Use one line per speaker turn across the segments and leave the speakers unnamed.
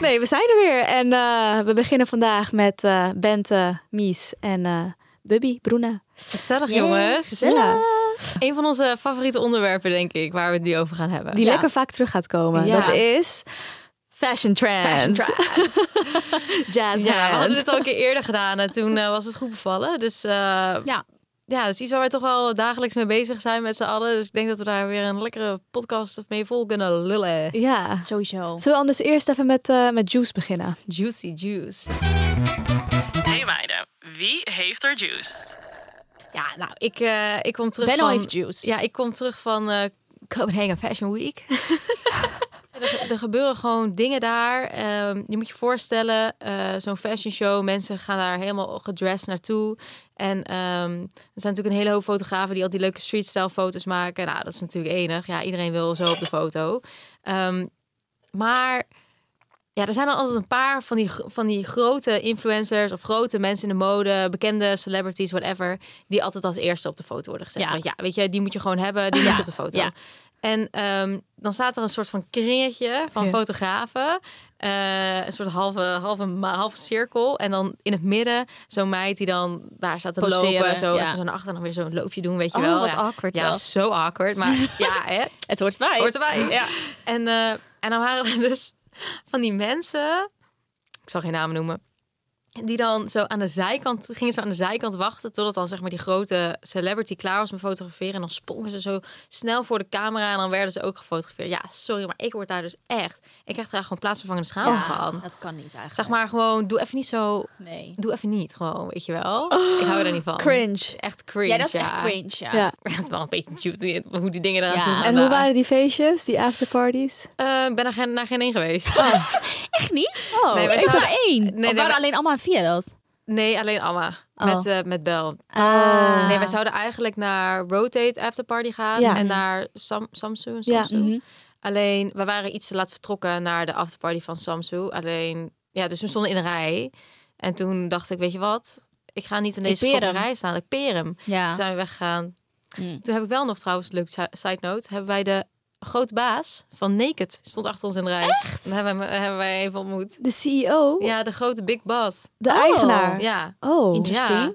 Nee, we zijn er weer. En eh, we beginnen vandaag met eh Bente, Mies en eh Bubby, Bruna.
Gezellig,
Yay,
jongens.
gezellig.
Een van onze favoriete onderwerpen, denk ik, waar we het nu over gaan hebben.
Die
Ja.
lekker vaak terug gaat komen.
Ja.
Dat is
fashion
Fashion
trends.
Trends. Jazz
Ja, we hadden
hands.
het al een keer eerder gedaan en toen eh, was het goed bevallen. Dus eh,
Ja.
ja, dat is iets waar wij toch wel dagelijks mee bezig zijn met z'n allen. Dus ik denk dat we daar weer een lekkere podcast mee vol kunnen lullen.
Ja.
Sowieso.
Zullen we anders eerst even met, eh, met Juice beginnen?
Juicy juice.
Hey meiden, wie heeft er juice?
Ja, nou, ik, eh, ik kom terug
Benno
van...
heeft juice.
Ja, ik kom terug van eh, Copenhagen Fashion Week. er, er gebeuren gewoon dingen daar. Ehm, je moet je voorstellen, eh, zo'n fashion show, mensen gaan daar helemaal gedressed naartoe. En ehm, er zijn natuurlijk een hele hoop fotografen die al die leuke streetstyle foto's maken. Nou, dat is natuurlijk enig. Ja, iedereen wil zo op de foto. Ehm, maar ja, er zijn er altijd een paar van die, gro- van die grote influencers of grote mensen in de mode, bekende celebrities, whatever, die altijd als eerste op de foto worden gezet.
Ja.
Want ja, weet je, die moet je gewoon hebben, die moet je op de foto.
ja.
En ehm, dan staat er een soort van kringetje van fotografen. eh, een soort halve, halve, ma- halve cirkel. En dan in het midden zo'n meid die dan daar staat te
Poseren,
lopen. Zo
ja.
even zo naar achter en dan weer zo'n loopje doen, weet je
Oh,
wel.
wat
ja.
awkward
Ja,
wel.
dat is zo awkward. Maar ja, hè,
Het hoort bij.
hoort erbij. En, eh, en dan waren er dus van die mensen, ik zal geen namen noemen, die dan zo aan de zijkant gingen zo aan de zijkant wachten totdat dan zeg maar die grote celebrity klaar was met fotograferen en dan sprongen ze zo snel voor de camera en dan werden ze ook gefotografeerd. Ja, sorry, maar ik word daar dus echt, ik krijg daar gewoon plaatsvervangende schaamte van.
Dat kan niet eigenlijk.
Zeg maar gewoon, doe even niet zo,
Nee.
doe even niet gewoon, weet je wel? ik hou er niet van.
Oh, Cringe.
Echt cringe.
Ja, dat is echt cringe, ja.
Ja.
Het is wel een beetje cute hoe die dingen eraan
Ja.
toe gaan.
En hoe
daar.
waren die feestjes, die afterparties?
Eh, Ik ben er geen, naar geen één geweest.
Echt niet? Oh,
Nee,
nee,
maar
ik
het zou-
dacht één. Nee,
nee,
waren
maar-
alleen allemaal via dat.
Nee, alleen Amma.
Oh.
Met, eh, met Bel.
Ah.
Nee, wij zouden eigenlijk naar Rotate Afterparty gaan.
Ja.
En naar Sam, Samsung.
Ja,
Samsung.
mhm.
Alleen, we waren iets te laat vertrokken naar de afterparty van Samsung. Alleen, ja, dus we stonden in een rij. En toen dacht ik, weet je wat? Ik ga niet in
Ik
deze
peer
fucking
hem.
rij staan. Ik peer hem.
Ja.
Toen zijn we weggegaan.
Mm.
Toen heb ik wel nog trouwens, leuk si- side note, hebben wij de grote baas van Naked stond achter ons in de rij. Echt? Dan hebben, we hem- hebben wij even ontmoet.
De CEO?
Ja, de grote Big Boss.
De
Oh.
eigenaar?
Ja.
Oh.
Interesting.
Ja.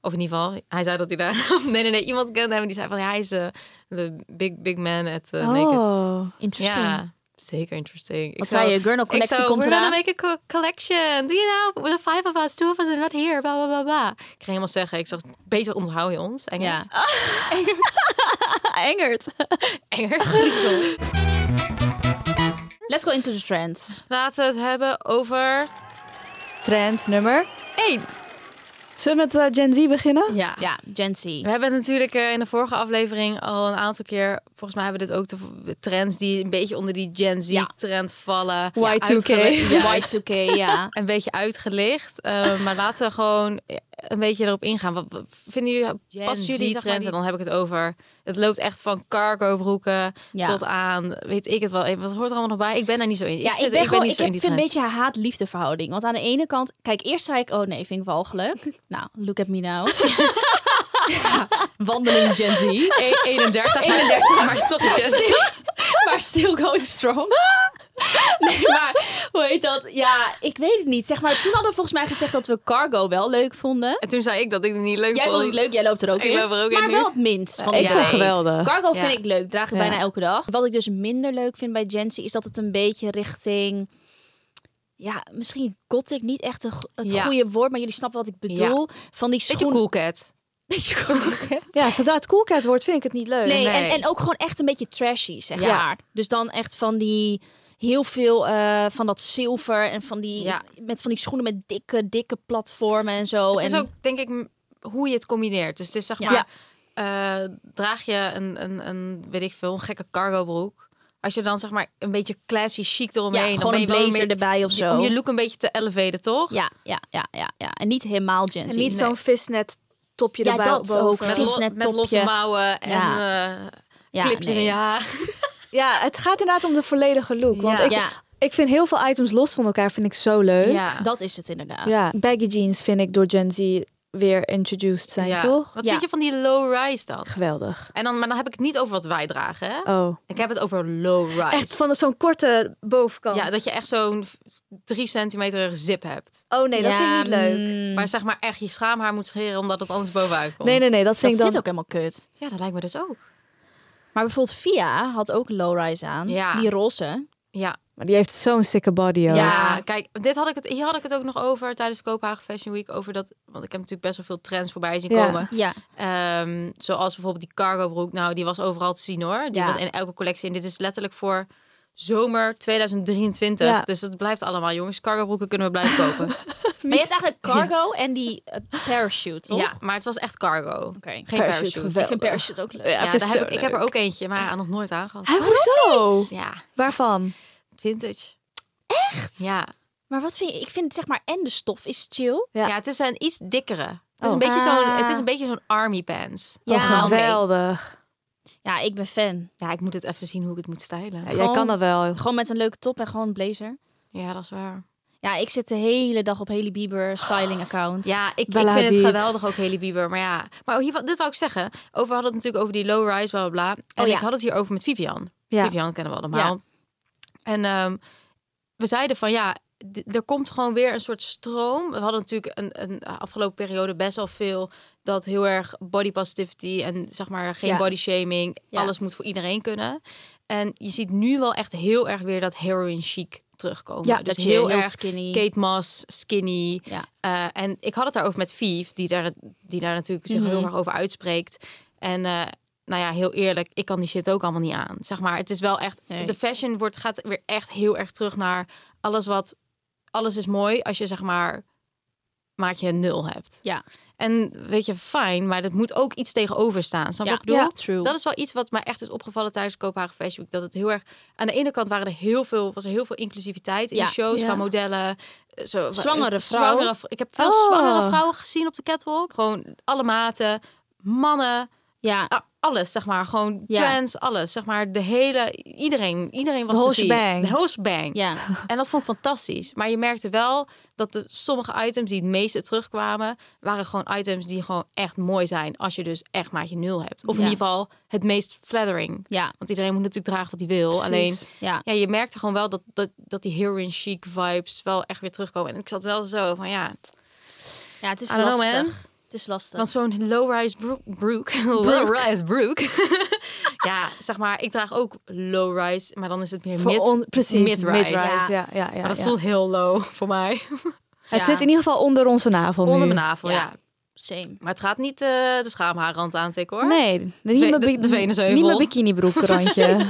Of in ieder geval, hij zei dat hij daar. Nee, nee, nee. Iemand kende hem die zei van ja, hij is eh, de big, big man at eh, Naked.
Oh.
Interesting.
Ja, zeker interesting. Ik
Wat
zou-
zei eh, je? Gurnal
ik
collectie
zou,
komt
we're gonna
eraan.
make a co- collection. Do you know? With the five of us, two of us are not here. Bla, bla, bla, bla. Ik ging helemaal zeggen, ik zag, beter onthoud je ons. Engels.
Ja.
Engert.
Engels.
Let's go into the trends.
Laten we het hebben over...
Trend nummer 1. Zullen we met eh, Gen Z beginnen?
Ja.
Ja, Gen Z.
We hebben het natuurlijk eh, in de vorige aflevering al een aantal keer volgens mij hebben we dit ook de de trends die een beetje onder die Gen
Ja.
Z-trend vallen.
Y2K.
uitgele- Ja,
Y2K, ja.
een beetje uitgelicht. eh, maar laten we gewoon eh, een beetje erop ingaan. Wat, wat vinden jullie,
Gen
passen
Z,
jullie die
zeg maar,
trend?
die-
En dan heb ik het over. Het loopt echt van cargo broeken
Ja.
tot aan, weet ik het wel. even, Wat hoort er allemaal nog bij? Ik ben daar niet zo in.
Ja, ik
zit-
ben, gewoon,
niet
ik
zo in
heb
die
een
trend.
beetje een haat-liefde verhouding. Want aan de ene kant, kijk, eerst zei ik, oh nee, vind ik walgelijk. nou, look at me now. Wandeling Gen Z.
31,
31,
maar toch just.
maar still going strong. nee, maar hoe heet dat? Ja, ik weet het niet. Zeg maar, toen hadden we volgens mij gezegd dat we cargo wel leuk vonden.
En toen zei ik dat ik het niet leuk
Jij
vond.
vond het leuk, jij loopt er ook
Ik
in.
loop er ook in
maar
nu.
wel het minst van de
ik
twee.
vond het
geweldig.
Cargo
Ja.
vind ik leuk, draag ik
Ja.
bijna elke dag. Wat ik dus minder leuk vind bij Gen Z is dat het een beetje richting... Ja, misschien gothic, niet echt een go- het
Ja.
goede woord, maar jullie snappen wat ik bedoel. Van die
Beetje
schoenen...
cool cat.
Beetje cool.
Ja, zodra het cool cat wordt, vind ik het niet leuk.
Nee,
Nee.
En, en ook gewoon echt een beetje trashy, zeg
Ja.
maar. Dus dan echt van die heel veel eh, van dat zilver en van die
Ja.
met van die schoenen met dikke dikke platformen en zo.
het
en
is ook, denk ik, m- hoe je het combineert. Dus het is zeg
Ja.
maar, eh, draag je een, een, een, weet ik veel, een gekke cargo broek. Als je dan zeg maar een beetje classy chic
ja,
eromheen. dan
gewoon
ben
een
je wel
blazer
meer-
erbij of
je-
zo.
Om je look een beetje te elevaten, toch?
Ja, ja, ja, ja, ja. En niet helemaal Gen Z.
En niet
Nee.
zo'n visnet topje
Ja,
erbij
dat ook.
boven.
Met,
Vies
lo-
net
met losse
topje.
mouwen en eh,
Ja,
clipjes
nee.
in je haar.
Ja, het gaat inderdaad om de volledige look. Want
Ja.
ik,
Ja.
ik vind heel veel items los van elkaar vind ik zo leuk.
Dat is het inderdaad.
Ja, baggy jeans vind ik door Gen Z weer introduced zijn,
Ja.
toch?
Wat
Ja.
vind je van die low-rise dan?
Geweldig.
En dan? Maar dan heb ik het niet over wat wij dragen, hè?
Oh.
Ik heb het over low-rise.
Echt van zo'n korte bovenkant.
Ja, dat je echt zo'n v- drie centimeter zip hebt.
Oh nee, dat
Ja,
vind ik niet leuk.
mm,
Maar zeg maar echt je schaamhaar moet scheren omdat het anders bovenuit komt.
Nee, nee, nee, dat
dat
vind ik
zit
dan...
ook helemaal kut.
Ja, dat lijkt me dus ook.
Maar bijvoorbeeld Via had ook low-rise aan.
Ja.
Die roze.
Ja,
Maar die heeft zo'n sikke body,
ja.
hoor.
kijk, dit had ik het, hier had ik het ook nog over tijdens Kopenhagen Fashion Week. Over dat, want ik heb natuurlijk best wel veel trends voorbij zien
Ja.
komen.
Ja.
Ehm, zoals bijvoorbeeld die cargo broek. Nou, die was overal te zien hoor. Die
Ja.
was in elke collectie. En dit is letterlijk voor zomer 2023.
Ja.
Dus dat blijft allemaal, jongens. Cargo broeken kunnen we blijven kopen.
Maar je hebt eigenlijk cargo en die eh, parachute, toch?
ja, maar het was echt cargo.
Oké.
Geen
Parachute,
parachute.
geweldig.
Ik vind parachute ook leuk.
Ja,
Ja,
vind
daar
zo
heb ik, ik heb er
leuk.
ook eentje, maar nog nooit aan gehad.
Hè, hoezo?
Ja,
Waarvan?
vintage. Echt? Ja.
Maar wat vind je? Ik vind zeg maar en de stof is chill.
Ja.
Ja, het is een iets dikkere. Het is
Oh.
een beetje zo'n,
Ah.
het is een beetje zo'n army pants.
oh,
Ja, oké.
geweldig.
Ja, ik ben fan.
Ja, ik moet het even zien hoe ik het moet stylen.
Jij
Gewoon-
kan dat wel.
Gewoon met een leuke top en gewoon een blazer.
Ja, dat is waar.
Ja, ik zit de hele dag op Haley Bieber styling account.
Ja, ik, ik
Bella
vind het
Hadid.
geweldig ook Haley Bieber, maar ja. Maar hier, dit wou ik zeggen. Over we hadden het natuurlijk over die low rise bla bla bla. En
Oh, ja.
ik had het hier over met Vivian.
Ja.
Vivian kennen we allemaal. En ehm, we zeiden van ja, d- er komt gewoon weer een soort stroom. We hadden natuurlijk een, een eh, afgelopen periode best wel veel dat heel erg body positivity en zeg maar geen
Ja.
body shaming.
Ja.
Alles moet voor iedereen kunnen. En je ziet nu wel echt heel erg weer dat heroin chic terugkomen.
Ja,
dus
dat je
heel,
heel
erg
skinny-
Kate Moss, skinny.
Ja.
Eh, en ik had het daarover met Vief, die daar, die daar natuurlijk zich
Mhm.
heel erg over uitspreekt. En eh, nou ja, heel eerlijk, ik kan die shit ook allemaal niet aan. Zeg maar, het is wel echt.
Nee.
De fashion wordt, gaat weer echt heel erg terug naar alles wat. Alles is mooi als je zeg maar. Maak je een nul hebt.
Ja.
En weet je, fijn, maar dat moet ook iets tegenover staan. Snap je
Ja,
wat ik bedoel?
ja, true.
Dat is wel iets wat mij echt is opgevallen tijdens Kopenhagen Fashion Week. Dat het heel erg... Aan de ene kant waren er heel veel, was er heel veel inclusiviteit in
Ja.
de shows,
Ja.
qua modellen. eh, Zo,
Zwangere
eh,
vrouwen.
zwangere vrou- ik heb veel
Oh.
zwangere vrouwen gezien op de catwalk. Gewoon alle maten, mannen,
Ja.
ah, alles zeg maar. Gewoon
Ja.
trans, alles zeg maar. De hele, iedereen, iedereen was
De
te
whole
zien.
shebang.
De whole shebang.
Ja.
En dat vond ik fantastisch. Maar je merkte wel dat de, sommige items die het meeste terugkwamen, waren gewoon items die gewoon echt mooi zijn. Als je dus echt maatje nul hebt. Of in
Ja.
ieder geval het meest flattering.
Ja.
Want iedereen moet natuurlijk dragen wat hij wil. Alleen
Ja.
ja, je merkte gewoon wel dat, dat, dat die heroin chic vibes wel echt weer terugkomen. En ik zat wel zo van ja,
Ja, het is
I don't know,
lastig.
man.
het is lastig.
want zo'n low-rise broek. broek low-rise broek. ja, zeg maar, ik draag ook low-rise, maar dan is het meer
Voor
mid,
on- precies,
mid-rise.
Ja, ja, ja.
Maar dat
ja.
voelt heel low voor mij.
Het zit in ieder geval onder onze navel
Onder
nu.
mijn navel, ja.
Ja. Same.
Maar het gaat niet eh, de schaamhaarrand aantikken hoor.
Nee, niet
Ve-
mijn
de-
bi-
de venenheuvel.
Niet mijn bikinibroekrandje.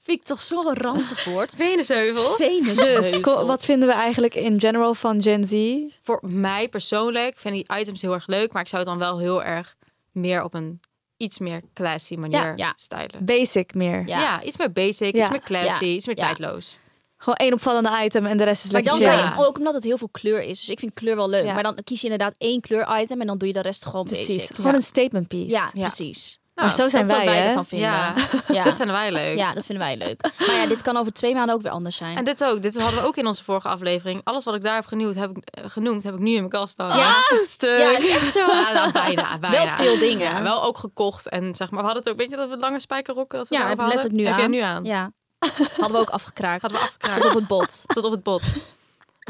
Vind ik toch zo'n ranzig woord.
Venesheuvel.
Venus.
dus ko- wat vinden we eigenlijk in general van Gen Z?
Voor mij persoonlijk vind ik die items heel erg leuk, maar ik zou het dan wel heel erg meer op een iets meer classy manier
Ja. Ja.
stylen.
Basic meer.
Ja. iets meer basic,
Ja.
iets meer classy,
Ja.
iets meer
Ja.
tijdloos.
Gewoon één opvallende item en de rest is
Maar
lekker
dan
chill.
kan je, ook omdat het heel veel kleur is. Dus ik vind kleur wel leuk.
Ja.
Maar dan kies je inderdaad één kleur item en dan doe je de rest gewoon
Precies.
basic.
Gewoon een statement piece.
Ja, precies. Nou,
maar zo zijn
dat
wij,
is wat wij
hè?
ervan vinden.
Ja.
Ja.
Dat vinden wij leuk.
Ja, dat vinden wij leuk. Maar ja, dit kan over twee maanden ook weer anders zijn.
En dit ook. Dit hadden we ook in onze vorige aflevering. Alles wat ik daar heb genoemd, heb ik, eh, genoemd, heb ik nu in mijn kast staan.
Ja.
stuk.
ja, het is echt zo.
Ja, nou, bijna, bijna.
Wel veel dingen.
Ja, wel ook gekocht. En zeg maar, we hadden het ook, weet je, dat we lange spijkerrokken dat we
Ja,
daarop
heb ik letterlijk
hadden?
nu
heb
aan.
jij nu aan?
Ja. Hadden we ook afgekraakt.
Hadden we afgekraakt.
Tot op het bot.
Tot op het bot.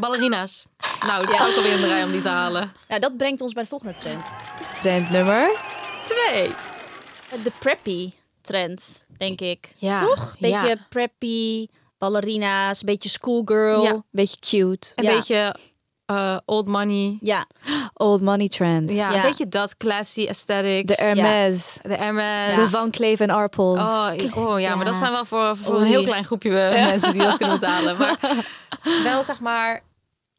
Ballerina's. Nou, die zou ik alweer in de rij om die te halen.
Nou, dat brengt ons bij de volgende trend.
Trend nummer.
Twee.
Eh, De preppy trend, denk ik.
Ja.
Toch? Beetje
Ja.
preppy, ballerina's, beetje schoolgirl.
Ja.
Beetje cute.
Een
Ja.
beetje eh, old money.
Ja.
Old money trend.
Ja,
Ja.
een beetje dat classy aesthetics.
De Hermes.
De Hermes.
De Van Cleef en Arpels.
Oh, ik- oh ja, maar dat zijn wel voor, voor
Oei.
een heel klein groepje eh, mensen die dat kunnen betalen. Maar wel zeg maar.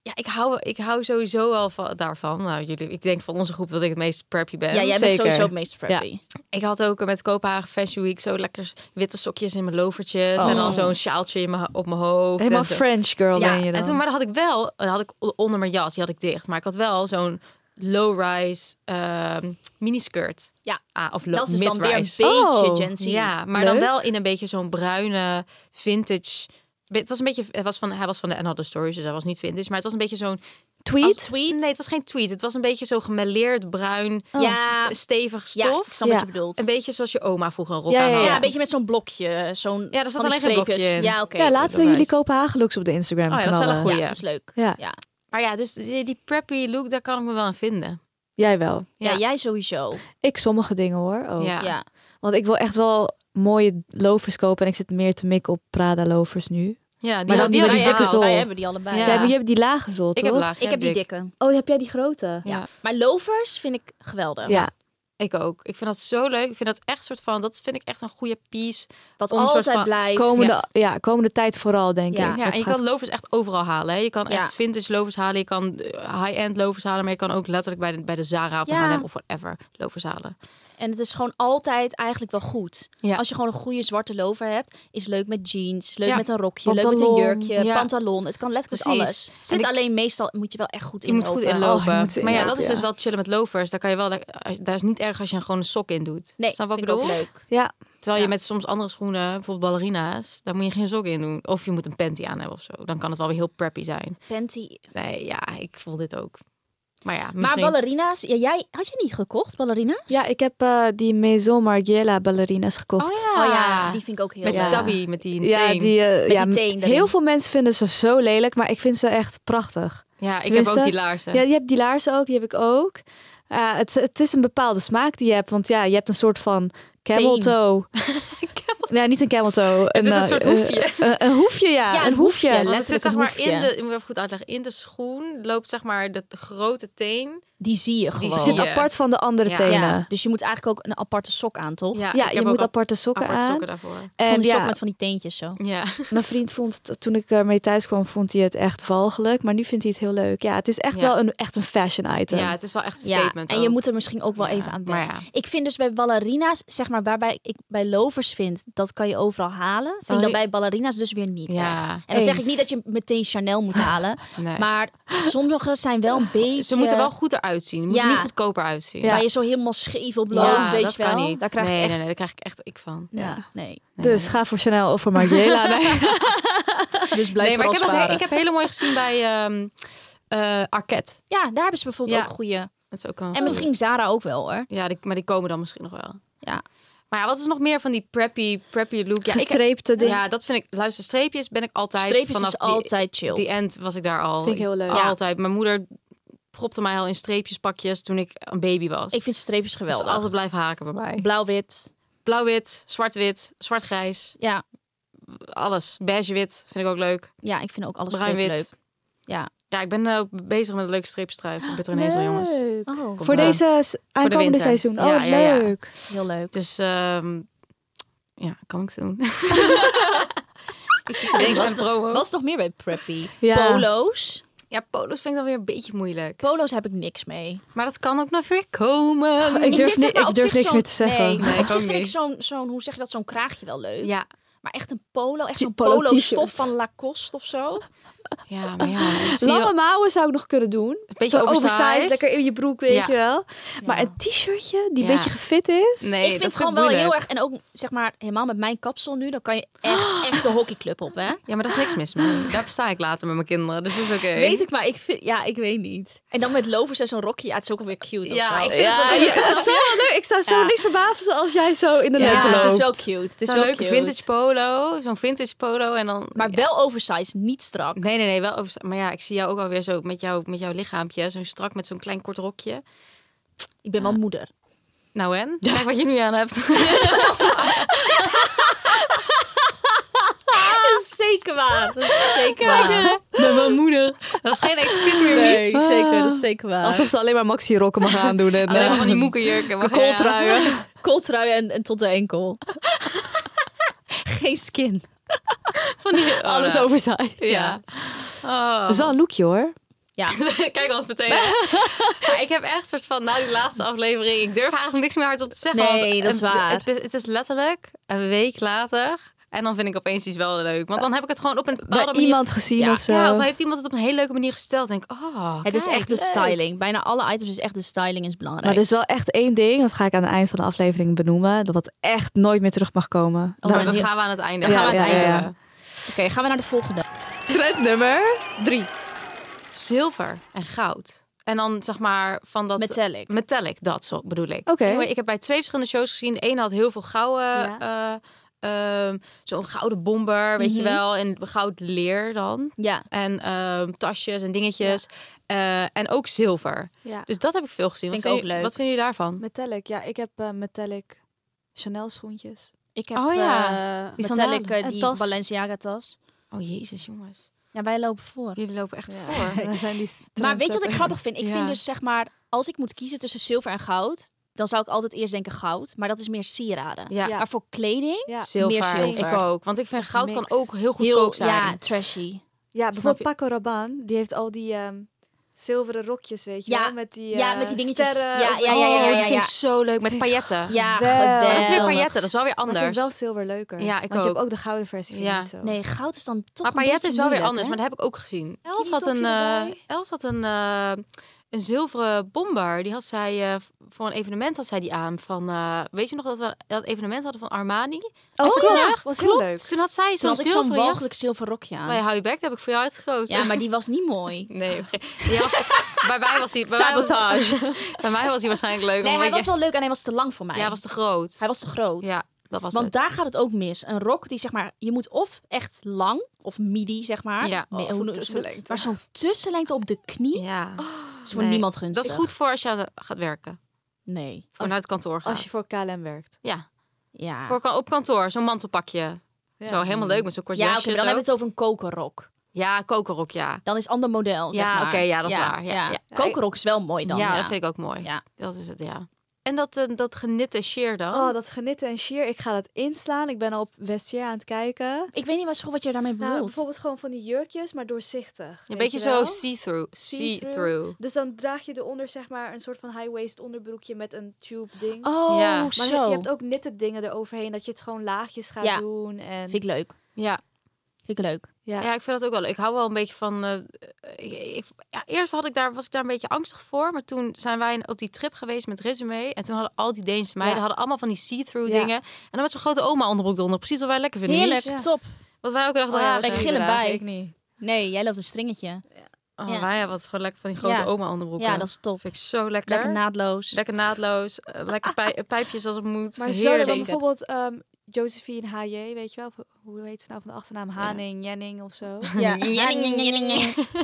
Ja, ik hou, ik hou sowieso wel van, daarvan. Nou, jullie, ik denk van onze groep dat ik het meest preppy ben.
ja, jij bent
zeker.
sowieso het meest preppy.
Ik had ook met Kopenhagen Fashion Week zo lekker witte sokjes in mijn lovertjes. En dan zo'n sjaaltje in mijn, ho- op mijn hoofd.
Helemaal
en zo.
French girl
Ja,
ben je dan.
en toen maar dan had ik wel, dan had ik o- onder mijn jas, die had ik dicht. Maar ik had wel zo'n low-rise ehm, miniskirt.
Ja.
Ah, of low,
Dat is dus dan weer een
mid-rise.
beetje
Oh,
Gen Z.
Ja, maar
Leuk.
dan wel in een beetje zo'n bruine vintage. Het was een beetje, het was van, hij was van de Another Stories, dus hij was niet vintage. Maar het was een beetje zo'n
Tweet?
als- Nee, het was geen tweet. Het was een beetje zo gemêleerd bruin,
Ja,
stevig stof.
ja, ik snap
Ja.
wat je bedoelt.
Een beetje zoals je oma vroeger een rok
Ja,
aan
ja,
had.
ja, een beetje met zo'n blokje. Zo'n,
Ja, daar zat
van die
alleen geen
streepjes.
blokje in.
Ja, oké.
Oh,
ja, laten we jullie
nice.
Kopenhagen looks op de Instagram
Oh ja, dat is wel een
knallen.
goeie.
Ja, dat is leuk.
Ja.
Ja.
Maar ja, dus die, die preppy look, daar kan ik me wel aan vinden.
Jij wel.
Ja,
Ja.
jij sowieso.
Ik sommige dingen hoor. ook.
Ja.
Oh, Ja.
Want ik wil echt wel mooie lovers kopen. En ik zit meer te mikken op Prada lovers nu.
Ja, die,
Maar dan die
had
met
ik
die dikke
wel.
zol.
Wij hebben die allebei.
Ja.
Ja, maar je hebt die lage zol,
Ik
toch?
heb laag, jij
Ik heb die
hebt dik.
dikke.
Oh, heb jij die grote?
Ja.
Maar lovers vind ik geweldig.
Ja.
Ik ook. Ik vind dat zo leuk. Ik vind dat echt soort van, dat vind ik echt een goede piece.
Wat
Om een soort
altijd
van-
blijft.
Komende, ja. komende tijd vooral, denk
Ja.
ik.
Ja,
Dat
en je
gaat-
kan lovers echt overal halen. Hè. Je kan
Ja.
echt vintage lovers halen. Je kan eh, high-end lovers halen. Maar je kan ook letterlijk bij de, bij de Zara of de
Ja.
H&M of whatever lovers halen.
En het is gewoon altijd eigenlijk wel goed.
Ja.
Als je gewoon een goede zwarte lover hebt, is leuk met jeans, leuk
Ja.
met een rokje, leuk met
Pantalon,
een jurkje,
ja.
pantalon. Het kan letterlijk
Precies.
alles. Het zit
En ik-
alleen meestal, moet je wel echt goed
Je moet goed inlopen.
Oh, je moet ze
maar ja,
inlopen,
dat is
ja.
dus wel chillen met lovers. Daar kan je wel, le- eh, daar is niet erg als je er gewoon een sok in doet.
Nee,
Snap wat ik
vind ik ook
bedoel?
leuk.
Ja.
Terwijl je met soms andere schoenen, bijvoorbeeld ballerina's, daar moet je geen sok in doen. Of je moet een panty aan hebben of zo. Dan kan het wel weer heel preppy zijn.
Panty.
Nee, ja, ik voel dit ook. Maar ja,
Maar
misschien...
ballerina's, ja, jij had je niet gekocht, ballerina's?
ja, ik heb eh, die Maison Margiela ballerina's gekocht.
ja.
Oh ja, die vind ik ook heel
Met die
leuk.
Ja.
tabby, met die
Ja,
teen.
die, eh,
die
ja, m-
teen erin.
heel veel mensen vinden ze zo lelijk, maar ik vind ze echt prachtig.
Ja, ik heb
Tenminste,
ook die laarzen.
Ja, je hebt die laarzen ook, die heb ik ook. Eh, het, het is een bepaalde smaak die je hebt, want ja, je hebt een soort van camel
Teen.
toe. Nee, niet een camel toe.
Het is een
eh,
soort
eh,
hoefje.
eh, een hoefje, ja.
Ja,
een
een hoefje,
hoefje.
Want het zit
letterlijk
zeg
een
maar in
hoefje.
de, ik moet even goed uitleggen, in de schoen loopt zeg maar de grote teen.
Die zie je gewoon.
zie
Het zit
je.
apart van de andere
Ja.
tenen.
ja.
Ja,
Dus je moet eigenlijk ook een aparte sok aan, toch?
ik heb
je
ook
moet
al-
aparte sokken
aparte
aan.
sokken daarvoor.
van
en
die sok
ja,
met van die teentjes zo.
Ja.
mijn vriend vond het, toen ik ermee thuis kwam, vond hij het echt walgelijk. Maar nu vindt hij het heel leuk. Ja, het is echt
Ja.
wel een, echt een fashion item.
ja, het is wel echt een
Ja,
statement Oh.
en je
ook.
moet er misschien ook wel
Ja,
even aan
maar
wennen.
ja.
Ik vind dus bij ballerina's, zeg maar, waarbij ik bij lovers vind, dat kan je overal halen. Vind ik dat
Balleri-
bij ballerina's dus weer niet.
Oh, Ja,
echt. En dan zeg ik
eens.
niet dat je meteen Chanel moet halen.
Nee.
Maar sommige zijn wel een beetje.
Ze moeten wel goed eruit zien. Ze moeten
dus- Ja.
niet goedkoper uitzien.
Waar je zo helemaal scheef op loopt,
Ja,
weet
dat
je wel.
kan niet.
Daar krijg
nee,
ik
nee,
echt.
nee, daar krijg ik echt ik van.
Ja, nee.
Dus ga voor Chanel of voor Margiela. Nee.
Dus blijf
nee, maar ik heb, dat he-
sparen.
ik heb hele mooi gezien bij ehm eh, Arquette.
Ja, daar hebben ze bijvoorbeeld
Ja. Oh.
ook goede.
Dat is ook een
En misschien Zara ook wel hoor.
Ja, die- maar die komen dan misschien nog wel.
Ja.
Maar ja, wat is nog meer van die preppy, preppy look? Ja, ik,
Gestreepte dingen.
ja, dat vind ik... Luister, streepjes ben ik altijd...
Streepjes
vanaf
is
die-
altijd chill.
Die end was ik daar al.
Vind ik heel leuk. Ja.
Altijd. Mijn moeder propte mij al in streepjespakjes toen ik een baby was.
Ik vind streepjes
Dus
geweldig.
altijd blijven haken bij mij.
Blauw-wit.
Blauw-wit, zwart-wit, zwart-grijs,
Ja.
alles. Beige-wit vind ik ook leuk.
ja, ik vind ook alles streep leuk.
Bruin-wit.
Ja.
Ja, ik ben eh, bezig met een leuke streepstrui voor Petronezel, jongens.
Leuk.
Oh,
Komt
Voor
eraan.
deze s- aankomende
winter.
seizoen. Oh,
Ja,
wat
ja, ja.
leuk.
heel leuk.
Dus ehm, ja, kan ik zo doen. ik
was
ben promo.
Wat is nog meer bij preppy?
Ja.
Polo's.
Ja, polo's vind ik dan weer een beetje moeilijk.
Polo's heb ik niks mee.
Maar dat kan ook nog weer komen.
Ik durf
vind,
ni-
zeg maar,
ik
op
durf
zich
niks
zo'n-
meer te zeggen.
Nee,
Nee,
op
ik
zich
ook
vind ik
niet.
zo'n, zo'n, hoe zeg je dat, zo'n kraagje wel leuk.
Ja,
Maar echt een polo,
Die
echt zo'n
polo
polo stof
t-shirt.
van Lacoste of zo.
ja, maar ja. dat zie je wel-
Lange mouwen zou ik nog kunnen doen.
Een beetje
Zo
oversized.
lekker in je broek, weet
Ja.
je wel. Maar een t-shirtje die een
Ja.
beetje gefit is.
Nee,
ik vind
dat
het gewoon wel heel erg. En ook zeg maar helemaal met mijn kapsel nu, dan kan je echt, echt de hockeyclub op, hè?
Ja, maar daar is niks mis mee. Daar versta ik later met mijn kinderen, dus dat is oké.
Weet ik, maar ik vind, ja, ik weet niet. En dan met lovers en zo'n rokje, ja, het is ook alweer cute.
Ja,
of zo.
ik vind het wel
Ja, het zou wel leuk. Ik zou zo
Ja.
niks verbazen als jij zo in de
Ja,
lente loopt.
het is wel cute. Het
Zo'n
is wel
Nou, leuke
cute.
vintage polo, zo'n vintage polo en dan...
maar wel oversized, niet strak.
Nee, nee, nee, wel over... Maar ja, ik zie jou ook alweer zo met, jou, met jouw lichaampje, zo strak met zo'n klein kort rokje.
Ik ben wel moeder.
Nou en? Kijk wat je nu aan hebt.
Zeker waar. Dat is zeker waar.
Met mijn moeder. Dat is geen excuus meer, Mies.
zeker, dat is zeker waar. Alsof
Alsof ze alleen maar maxi-rokken mag aandoen. En,
Alleen maar
eh,
van die moekenjurken. maar ja.
kooltruien.
kooltrui en, en tot de enkel. Geen skin.
Van die... oh,
Alles
nou.
oversized.
Ja.
Dat is wel een lookje hoor.
Ja,
Kijk ons meteen. maar ik heb echt soort van na die laatste aflevering. Ik durf eigenlijk niks meer hardop te zeggen.
Nee,
want
dat is
het-
waar.
Het, is- het is letterlijk een week later. En dan vind ik opeens iets wel leuk. Want dan heb ik het gewoon op een bepaalde
Bij
manier-
iemand gezien
Ja.
of zo.
Ja, of heeft iemand het op een hele leuke manier gesteld? Denk ik, oh,
het is
kijk,
echt de
leuk.
styling. Bijna alle items is echt de styling is belangrijk.
maar er is wel echt één ding, dat ga ik aan het eind van de aflevering benoemen, dat wat echt nooit meer terug mag komen.
Oh, maar
Dan-
dat gaan we aan het einde.
Ja,
gaan we aan het
ja, ja,
einde.
ja.
hebben.
Oké, gaan we naar de volgende.
Trendnummer drie.
Zilver en goud. En dan zeg maar van dat...
Metallic.
Metallic, dat zo, bedoel ik.
Oké.
Anyway, ik heb bij twee verschillende shows gezien. De ene had heel veel gouden... eh, ehm, Zo'n gouden bomber, weet
Mhm.
je wel. En goud leer dan.
Ja.
En ehm, tasjes en dingetjes. Eh, en ook zilver.
Ja.
Dus dat heb ik veel gezien.
Vind
wat
ik ook
vinden-
leuk.
Wat vinden jullie daarvan?
Metallic, ja, ik heb eh, metallic Chanel schoentjes.
Ik heb
Oh ja,
eh,
die
metallic
sandalen.
eh,
En
die
tas.
Balenciaga tas.
Oh jezus, jongens.
Ja, wij lopen voor.
Jullie lopen echt
Ja.
voor.
En dan zijn die s-
Maar weet je wat ik
trendsetters.
grappig vind? Ik
Ja.
vind dus zeg maar, als ik moet kiezen tussen zilver en goud, dan zou ik altijd eerst denken goud. Maar dat is meer sieraden.
Ja.
Ja.
Maar voor kleding,
Ja,
Zilver.
meer zilver.
Ik ook. Want ik vind goud kan
Mix.
ook heel goedkoop
heel
zijn.
ja, trashy.
ja
Snap je?
bijvoorbeeld Paco Rabanne, die heeft al die ehm, zilveren rokjes, weet je
Ja.
wel? Met die,
Ja,
eh,
met die dingetjes.
sterren
Ja,
of-
ja, ja,
Oh,
ja, ja,
die
ja,
vind ik
ja.
zo leuk. Met pailletten.
Ja,
Geweldig.
Dat is weer
geweldig.
pailletten. Dat is wel weer
Maar ik vind
anders.
wel zilver leuker.
Ja, ik
Want je hebt
ook.
ook de gouden versie van
Ja.
niet zo.
Nee, goud is dan toch
Maar
een
pailletten is wel
beetje
weer anders.
moeilijk, hè?
Maar dat heb ik ook gezien. Els had,
topje
een, eh,
erbij.
Els had een, eh, een zilveren bomber. Die had zij eh, voor een evenement had zij die aan. Van, eh, weet je nog dat we dat evenement hadden van Armani?
Oh,
Even
klopt.
terug.
Was heel
Klopt.
leuk.
Toen had zij
Toen
zo'n
had ik zo'n
zilveren jacht.
walgelijk zilver rokje aan.
Maar hou je bek, Oh dat heb ik voor jou uitgekozen.
Ja, maar die was niet mooi.
Nee, oké. Die was- bij mij was hij... Bij mij was- bij mij was hij waarschijnlijk leuk.
Nee,
omdat
hij
je-
was wel leuk en hij was te lang voor mij.
Ja, hij was te groot.
Hij was te groot.
Ja, dat was
Want
het.
daar gaat het ook mis. Een rok die zeg maar, je moet of echt lang of midi zeg maar.
Ja.
Me-
Oh, zo'n
noem-
tussenlengte.
Maar dus zo'n tussenlengte op de knie
Ja.
is voor
Nee,
niemand gunstig.
Dat is goed voor als je gaat werken.
Nee.
Voor naar het kantoor gaat.
Als je voor KLM werkt.
Ja,
Ja.
voor ka- op kantoor. Zo'n mantelpakje.
Ja.
Zo, helemaal leuk met zo'n kort
ja, oké,
jasje.
maar dan
zo.
hebben we het over een kokerrok.
Ja, kokerrok, ja.
Dan is ander model. Zeg
Ja,
maar.
oké, ja, dat is waar. Ja, ja.
Kokerrok is wel mooi dan.
ja, dat vind ik ook mooi.
Ja.
Dat is het, ja. En dat, eh, dat genitte sheer dan?
Oh, dat genitten en sheer. Ik ga dat inslaan. Ik ben al op Westjear aan het kijken.
Ik weet niet wat, wat je daarmee bedoelt.
Nou, bijvoorbeeld gewoon van die jurkjes, maar doorzichtig.
een
weet
beetje
je
zo
wel?
see-through.
See-through.
See-through.
Dus dan draag je eronder zeg maar een soort van high-waist onderbroekje met een tube ding.
Oh,
Ja.
maar je-
zo.
je hebt ook nitten dingen eroverheen, dat je het gewoon laagjes gaat
Ja.
doen. En...
Vind ik leuk.
Ja.
Vind ik leuk.
Ja.
ja, ik vind dat ook wel leuk. Ik hou wel een beetje van... eh, ik, ik- ja, eerst had ik daar, was ik daar een beetje angstig voor. Maar toen zijn wij op die trip geweest met Resume. En toen hadden al die Deense meiden
Ja.
hadden allemaal van die see-through
Ja.
dingen. En dan met zo'n grote oma onderbroek eronder. Precies wat wij lekker vinden.
Heerlijk,
Mies.
top.
Wat wij ook dachten,
Oh ja,
ja,
dat
lekker
doe ik
gillen
inderdaad,
bij.
Ik niet.
Nee, jij loopt een stringetje.
Oh,
Ja.
wij hebben het gewoon lekker van die grote
Ja.
oma onderbroeken.
Ja, dat is top.
vind ik zo lekker.
Lekker naadloos.
Lekker naadloos. eh, lekker pij- pijpjes als het moet.
Maar zo
Heerlijk.
dan bijvoorbeeld ehm, Josephine H.J., weet je wel? Of Hoe heet ze nou van de achternaam? Haning, Jenning of zo.
Ja.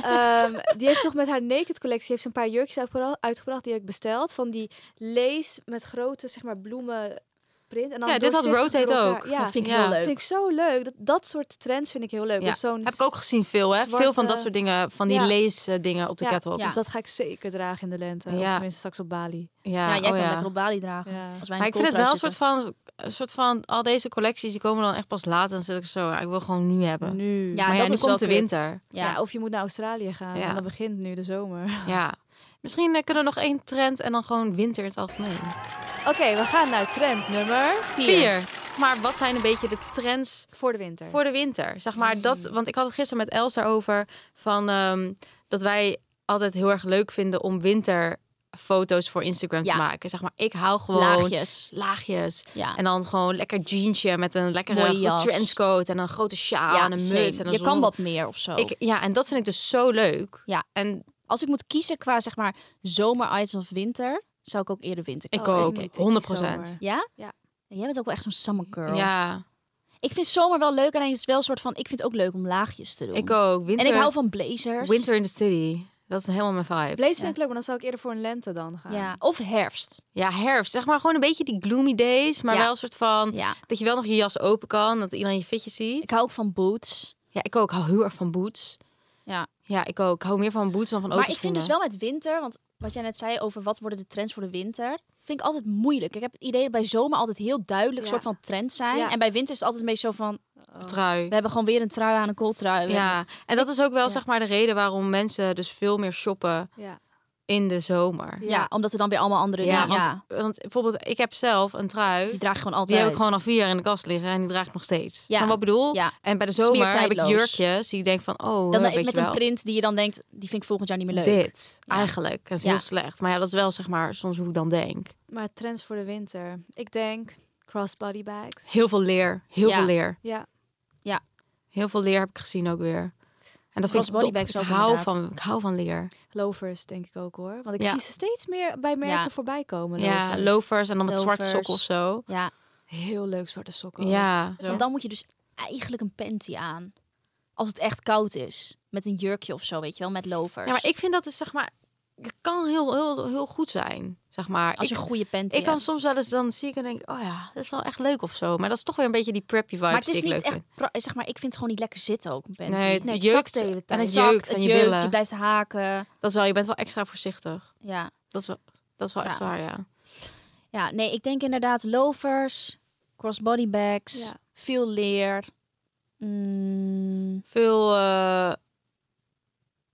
Ehm, die heeft toch met haar naked collectie heeft ze een paar jurkjes uitgebra- uitgebracht die heb ik besteld van die lees met grote zeg maar bloemen print. En dan
Ja, dit had
doorzichtig
Rotate
door elkaar.
ook.
Ja,
Dat vind ik
Ja.
heel leuk.
Vind ik zo leuk. Dat, dat soort trends vind ik heel leuk.
Ja.
Of zo'n
Heb ik ook gezien veel, hè?
zwarte-
Veel van dat soort dingen, van die
Ja.
leesdingen op de
Ja,
catwalk.
Dus dat ga ik zeker dragen in de lente. Of
Ja.
tenminste straks op Bali.
Ja,
Ja, jij
oh
kan
ja.
lekker op Bali dragen.
Ja.
Als wij in
Maar
de
ik vind het wel een
koelkast
soort
zitten.
van, een soort van, al deze collecties die komen dan echt pas later. Dan zit ik zo, ja, ik wil gewoon nu hebben.
Nu.
Ja,
maar ja,
dat
nu
is wel
komt de
kut.
winter.
Ja.
Ja.
of je moet naar Australië gaan.
Ja.
En dan begint nu de zomer.
Ja. Misschien eh, kunnen we nog één trend en dan gewoon winter in het algemeen.
Oké, we gaan naar trend nummer
Vier. Maar wat zijn een beetje de trends
voor de winter.
Voor de winter. Zeg maar dat,
Hmm.
want ik had het gisteren met Els daarover. Van ehm, dat wij altijd heel erg leuk vinden om winterfoto's voor Instagram
Ja.
te maken. Zeg maar, ik hou gewoon
laagjes.
laagjes.
Ja.
En dan gewoon lekker jeansje met een lekkere
Mooie
goed
jas.
trenchcoat en een grote sjaal
ja,
en een
same.
muts en een
je kan
zon-
wat meer of zo.
Ik, ja, en dat vind ik dus zo leuk.
Ja. Oh,
En
als ik moet kiezen qua zeg maar zomer-items of winter, zou ik ook eerder winter
ik
kiezen.
ik
ook,
niet. Ik kies
100
zomer.
Ja?
Ja.
Jij bent ook wel echt zo'n summer girl.
Ja,
Ik vind zomer wel leuk, alleen het is wel een soort van... Ik vind het ook leuk om laagjes te doen.
ik ook. Winter,
En ik hou van blazers.
Winter in the City. Dat is helemaal mijn vibe.
Blaze vind ik leuk, maar dan zou ik eerder voor een lente dan gaan.
Ja. Of herfst.
Ja, herfst. Zeg maar gewoon een beetje die gloomy days, maar
Ja.
wel een soort van...
Ja.
Dat je wel nog je jas open kan, dat iedereen je fitje ziet.
Ik hou ook van boots.
Ja, ik ook. Ik hou heel erg van boots.
Ja.
Ja, ik ook. Ik hou meer van boots dan van open
Maar ik vind dus wel met winter, want wat jij net zei over wat worden de trends voor de winter, vind ik altijd moeilijk. Ik heb het idee dat bij zomer altijd heel duidelijk
Ja.
soort van trends zijn.
Ja.
En bij winter is het altijd een beetje zo van,
wel... Trui.
we hebben gewoon weer een trui aan, een kooltrui.
Ja, en dat is ook wel
ja.
zeg maar de reden waarom mensen dus veel meer shoppen
Ja.
in de zomer.
ja. omdat er dan weer allemaal andere...
Ja,
Ja,
want,
ja.
want bijvoorbeeld ik heb zelf een trui,
die
die,
draag je gewoon altijd.
heb ik gewoon al vier jaar in de kast liggen en die draag ik nog steeds.
Ja.
Snap je wat ik bedoel?
Ja.
En bij de
is meer
zomer heb ik
tijdloos.
jurkjes die ik denk van, oh,
Dan eh,
weet
met
je
een
wel.
print die je dan denkt, die vind ik volgend jaar niet meer leuk.
Dit, eigenlijk. Dat is
Ja.
heel slecht. Maar ja, dat is wel zeg maar soms hoe ik dan denk.
Maar trends voor de winter. Ik denk crossbody bags.
Heel veel leer. Heel
Ja.
veel leer.
Ja.
Heel veel leer heb ik gezien ook weer. En dat vind ik
Crossbody
top.
bags
Ik
ook
hou,
inderdaad.
van, ik hou van leer.
Lovers denk ik ook hoor. Want ik
Ja.
zie ze steeds meer bij merken
Ja.
voorbij komen.
Ja, loafers en dan met zwarte
Loafers.
sokken of zo.
Ja,
Heel leuk zwarte sokken. ook.
Ja.
want Oh, dan moet je dus eigenlijk een panty aan. Als het echt koud is. Met een jurkje of zo, weet je wel, met lovers.
ja, maar ik vind dat is zeg maar... Het kan heel, heel, heel goed zijn, zeg maar.
Als je
ik,
een goede panty
ik kan
hebt.
soms wel eens dan zie ik en denk... Oh ja, dat is wel echt leuk of zo. Maar dat is toch weer een beetje die preppy vibe
Maar het is
die ik
niet
leuk
echt, pra- zeg maar, ik vind het gewoon niet lekker zitten ook een panty.
Nee, het
het
jeukt
zakt de hele
en
tijd.
het
zakt,
jeukt aan
het
je
jeukt,
billen.
je blijft haken.
Dat is wel, je bent wel extra voorzichtig.
Ja.
Dat is wel, dat is wel echt
Ja.
waar, ja.
ja, nee, ik denk inderdaad lovers, crossbody bags,
Ja.
veel leer. Mm,
Veel eh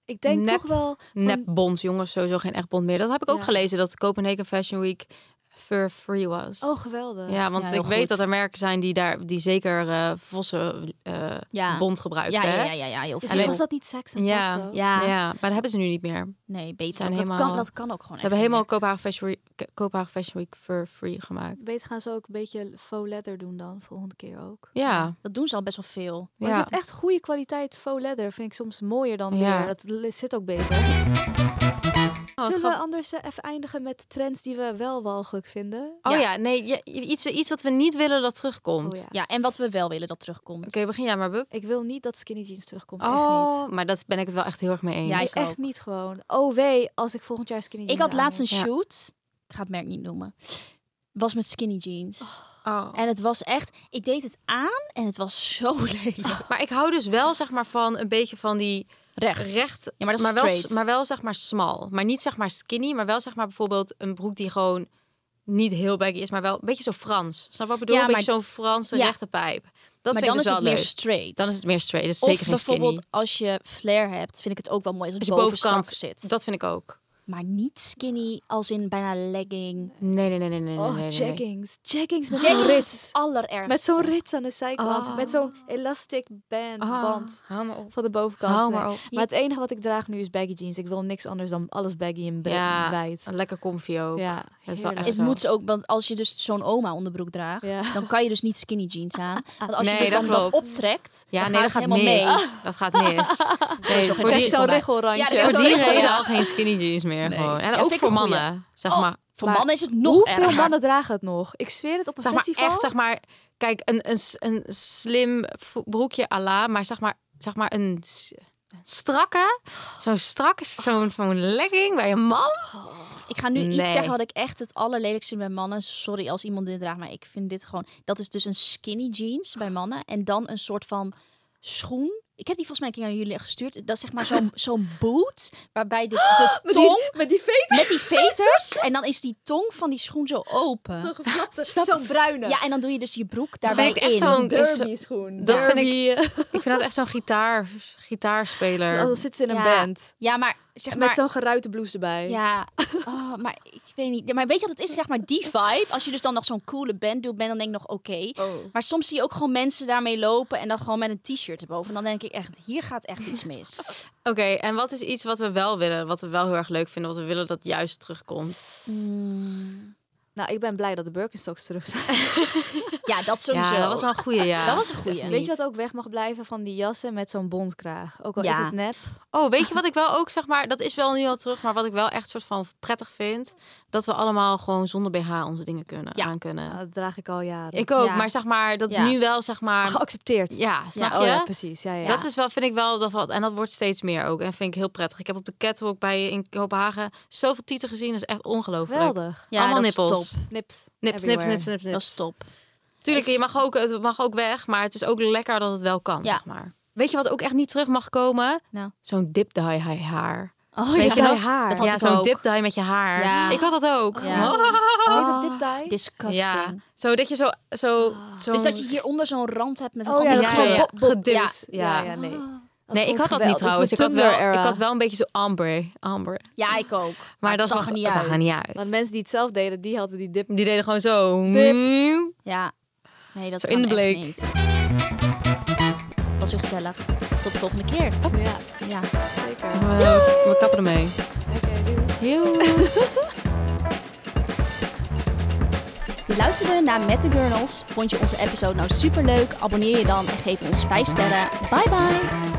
Ik denk
Nep.
toch wel van-
nepbond, jongens. Sowieso geen echt bond meer. Dat heb ik ook
Ja.
gelezen, dat Copenhagen Fashion Week fur-free was.
Oh, geweldig.
Ja, want
heel
ik weet
goed.
dat er merken zijn die daar die zeker eh vossen eh
ja.
bond gebruiken.
ja, ja,
hè?
ja, ja, ja, heel
Is
veel.
Alleen-
Dus was dat niet seks en
Ja.
pot zo?
Ja,
Ja, maar dat hebben ze nu niet meer.
nee, beter.
Zijn
Dat,
helemaal-
kan, dat kan ook gewoon
Ze
echt
hebben
niet
helemaal Kopenhagen Fashion Week, Kopenhagen Fashion Week fur free gemaakt.
Beter gaan ze ook een beetje faux leather doen dan, volgende keer ook.
Ja,
meer. Dat doen ze al best wel veel.
Want je
ja.
hebt echt goede kwaliteit faux leather. Vind ik soms mooier dan
Ja.
weer. Dat li- zit ook beter.
Oh,
Zullen we
grap-
anders eh, even eindigen met trends die we wel walgelijk vinden?
oh
Ja.
ja. nee, ja, iets, iets wat we niet willen dat terugkomt.
Oh, ja.
Oké,
Ja, en wat we wel willen dat terugkomt.
begin jij maar, Bub.
Ik wil niet dat skinny jeans terugkomt. echt
Oh,
niet.
maar dat ben ik het wel echt heel erg mee eens.
Ja,
Nee,
ik ook.
echt niet gewoon. Oh wee, als ik volgend jaar skinny jeans
Ik had laatst een
Ja.
shoot. Ik ga het merk niet noemen. Was met skinny jeans.
Oh.
En het was echt... Ik deed het aan en het was zo lelijk.
Maar ik hou dus wel zeg maar van een beetje van die
Recht.
recht,
Ja, maar dat is
maar wel,
straight.
maar wel zeg maar smal, maar niet zeg maar skinny, maar wel zeg maar bijvoorbeeld een broek die gewoon niet heel baggy is, maar wel een beetje zo Frans. Snap je wat ik bedoel?
Ja,
een beetje
maar-
zo'n Franse
Ja.
rechte pijp. Dat
maar
vind
dan
ik dus
is
wel
het
leuk.
meer straight.
Dan is het meer straight. Dat is
of
zeker geen
bijvoorbeeld
skinny.
als je flare hebt, vind ik het ook wel mooi als
Als
het
je
boven
bovenkant
strak zit.
Dat vind ik ook.
Maar niet skinny als in bijna legging.
Nee, nee, nee, nee, nee.
Oh,
nee, nee, nee.
jeggings. Jeggings met zo'n
Jeggings is
rits.
het allerergste.
Met zo'n rits aan de zijkant.
Oh.
Met zo'n elastic band.
Ah,
band.
hou maar op.
Van de bovenkant.
Hou
Nee.
maar op.
Maar het enige wat ik draag nu is baggy jeans. Ik wil niks anders dan alles baggy en bre-
Ja,
wijd.
lekker comfy ook.
Ja,
Dat is wel
heerlijk.
echt
het
zo.
moet ze ook, want als je dus zo'n oma onderbroek draagt,
Ja.
dan kan je dus niet skinny jeans aan. Want als
Nee,
je dus
dat
dan dat
klopt.
optrekt,
Ja,
dan
nee, dat
gaat
gaat
het helemaal
mis. Ah.
mee.
Dat gaat mis. Nee,
geen
voor
Krijg
die,
je
regel
zo'n
bij.
regelrandje.
Ja, dat
voor
is wel
die
regel,
reden
ja.
al geen skinny jeans meer gewoon. En
Ja,
ook
vind ik
voor
een goeie.
mannen, zeg
Oh,
maar.
Voor
Maar
mannen is het nog
Hoeveel
erger.
mannen dragen het nog? Ik zweer het op een
zeg maar
festival.
echt, zeg maar, kijk, een, een, s- een slim vo- broekje à la, maar zeg maar, zeg maar een
Oh.
s- een strakke, zo'n strakke, zo'n zo'n legging bij een man.
Ik Ik ga nu
Nee.
iets zeggen wat ik echt het allerlelijkst vind bij mannen. Sorry als iemand dit draagt, maar ik vind dit gewoon... Dat is dus een skinny jeans bij mannen. En dan een soort van schoen. Ik heb die volgens mij een keer aan jullie gestuurd. Dat is zeg maar zo'n zo'n boot, waarbij de, de tong...
met die veet.
Met die veters. En dan is die tong van die schoen zo open.
Zo'n bruine.
Ja, en dan doe je dus je broek
Dat
daarbij
vind ik echt
in.
zo'n... is-
derby schoen.
Dat vind ik-
ik...
Ik vind dat echt zo'n gitaar, gitaarspeler.
Dan zit ze in een
Ja.
band.
Ja, maar zeg maar...
Met zo'n geruite blouse erbij.
Ja, oh, maar ik weet niet. Maar weet je wat het is? Zeg maar die vibe. Als je dus dan nog zo'n coole band doet, ben dan denk ik nog oké. Maar soms zie je ook gewoon mensen daarmee lopen en dan gewoon met een t-shirt erboven. En dan denk ik echt, hier gaat echt iets mis.
Oké, en wat is iets wat we wel willen? Wat we wel heel erg leuk vinden, wat we willen dat juist terugkomt?
Nou, ik ben blij dat de Birkenstocks terug zijn.
Ja, dat sowieso.
Ja, dat was wel een goede, ja.
Dat was een goeie.
Echt
Weet je
niet.
wat ook weg mag blijven van die jassen met zo'n bondkraag? Ook al is
Ja.
het nep.
Oh, weet je wat ik wel ook zeg maar, dat is wel nu al terug, maar wat ik wel echt soort van prettig vind, dat we allemaal gewoon zonder BH onze dingen kunnen
Ja.
aan kunnen.
Nou, dat draag ik al jaren.
Ik ook,
Ja.
maar zeg maar, dat is
Ja.
nu wel zeg maar,
Geaccepteerd.
ja, snap
ja,
je?
Oh, ja, precies. Ja, ja.
Dat is wel, vind ik wel, dat wat, en dat wordt steeds meer ook. En vind ik heel prettig. Ik heb op de catwalk bij in Kopenhagen zoveel tieten gezien, dat is echt ongelooflijk.
geweldig.
Ja,
Allemaal
Allemaal
nippels.
nippels.
Nips.
Nips, nips,
everywhere.
nips, nips,
Dat is
nips.
top.
Tuurlijk, je mag ook, het mag ook weg, maar het is ook lekker dat het wel kan.
Ja.
Zeg maar. Weet je wat ook echt niet terug mag komen?
Nou.
Zo'n dip-dye haar.
Oh,
Weet
ja,
je nog?
bij haar.
Dat
had
ja,
ik
zo'n
ook.
dip-dye met je haar.
Ja.
Ik had dat ook.
Ja.
Hoe heet het? Dip dye?
Disgusting.
Ja. Zo dat je zo... zo, zo
Dus dat je hieronder zo'n rand hebt met een
Oh ja,
andere
dat
Ja,
gewoon
ja,
bop, bop.
Gedipt. Ja.
Ja, ja, nee.
Nee, ik had dat niet trouwens. Ik had, wel, ik had wel een beetje zo amber. amber. Maar,
Ja, ik ook. Maar,
dat
dat zag
was,
er niet
dat
uit.
zag er niet uit.
Want mensen die het zelf deden, die hadden die dip.
Die deden gewoon zo...
Ja. Nee, dat
Zo
kan
in de
echt
bleek.
niet. Was weer gezellig. Tot de volgende keer.
Ja,
Ja.
zeker.
We, we kappen ermee.
Oké, doei.
Je luisterde naar Met de Girls. Vond je onze episode nou superleuk? Abonneer je dan en geef ons 5 sterren. Bye bye!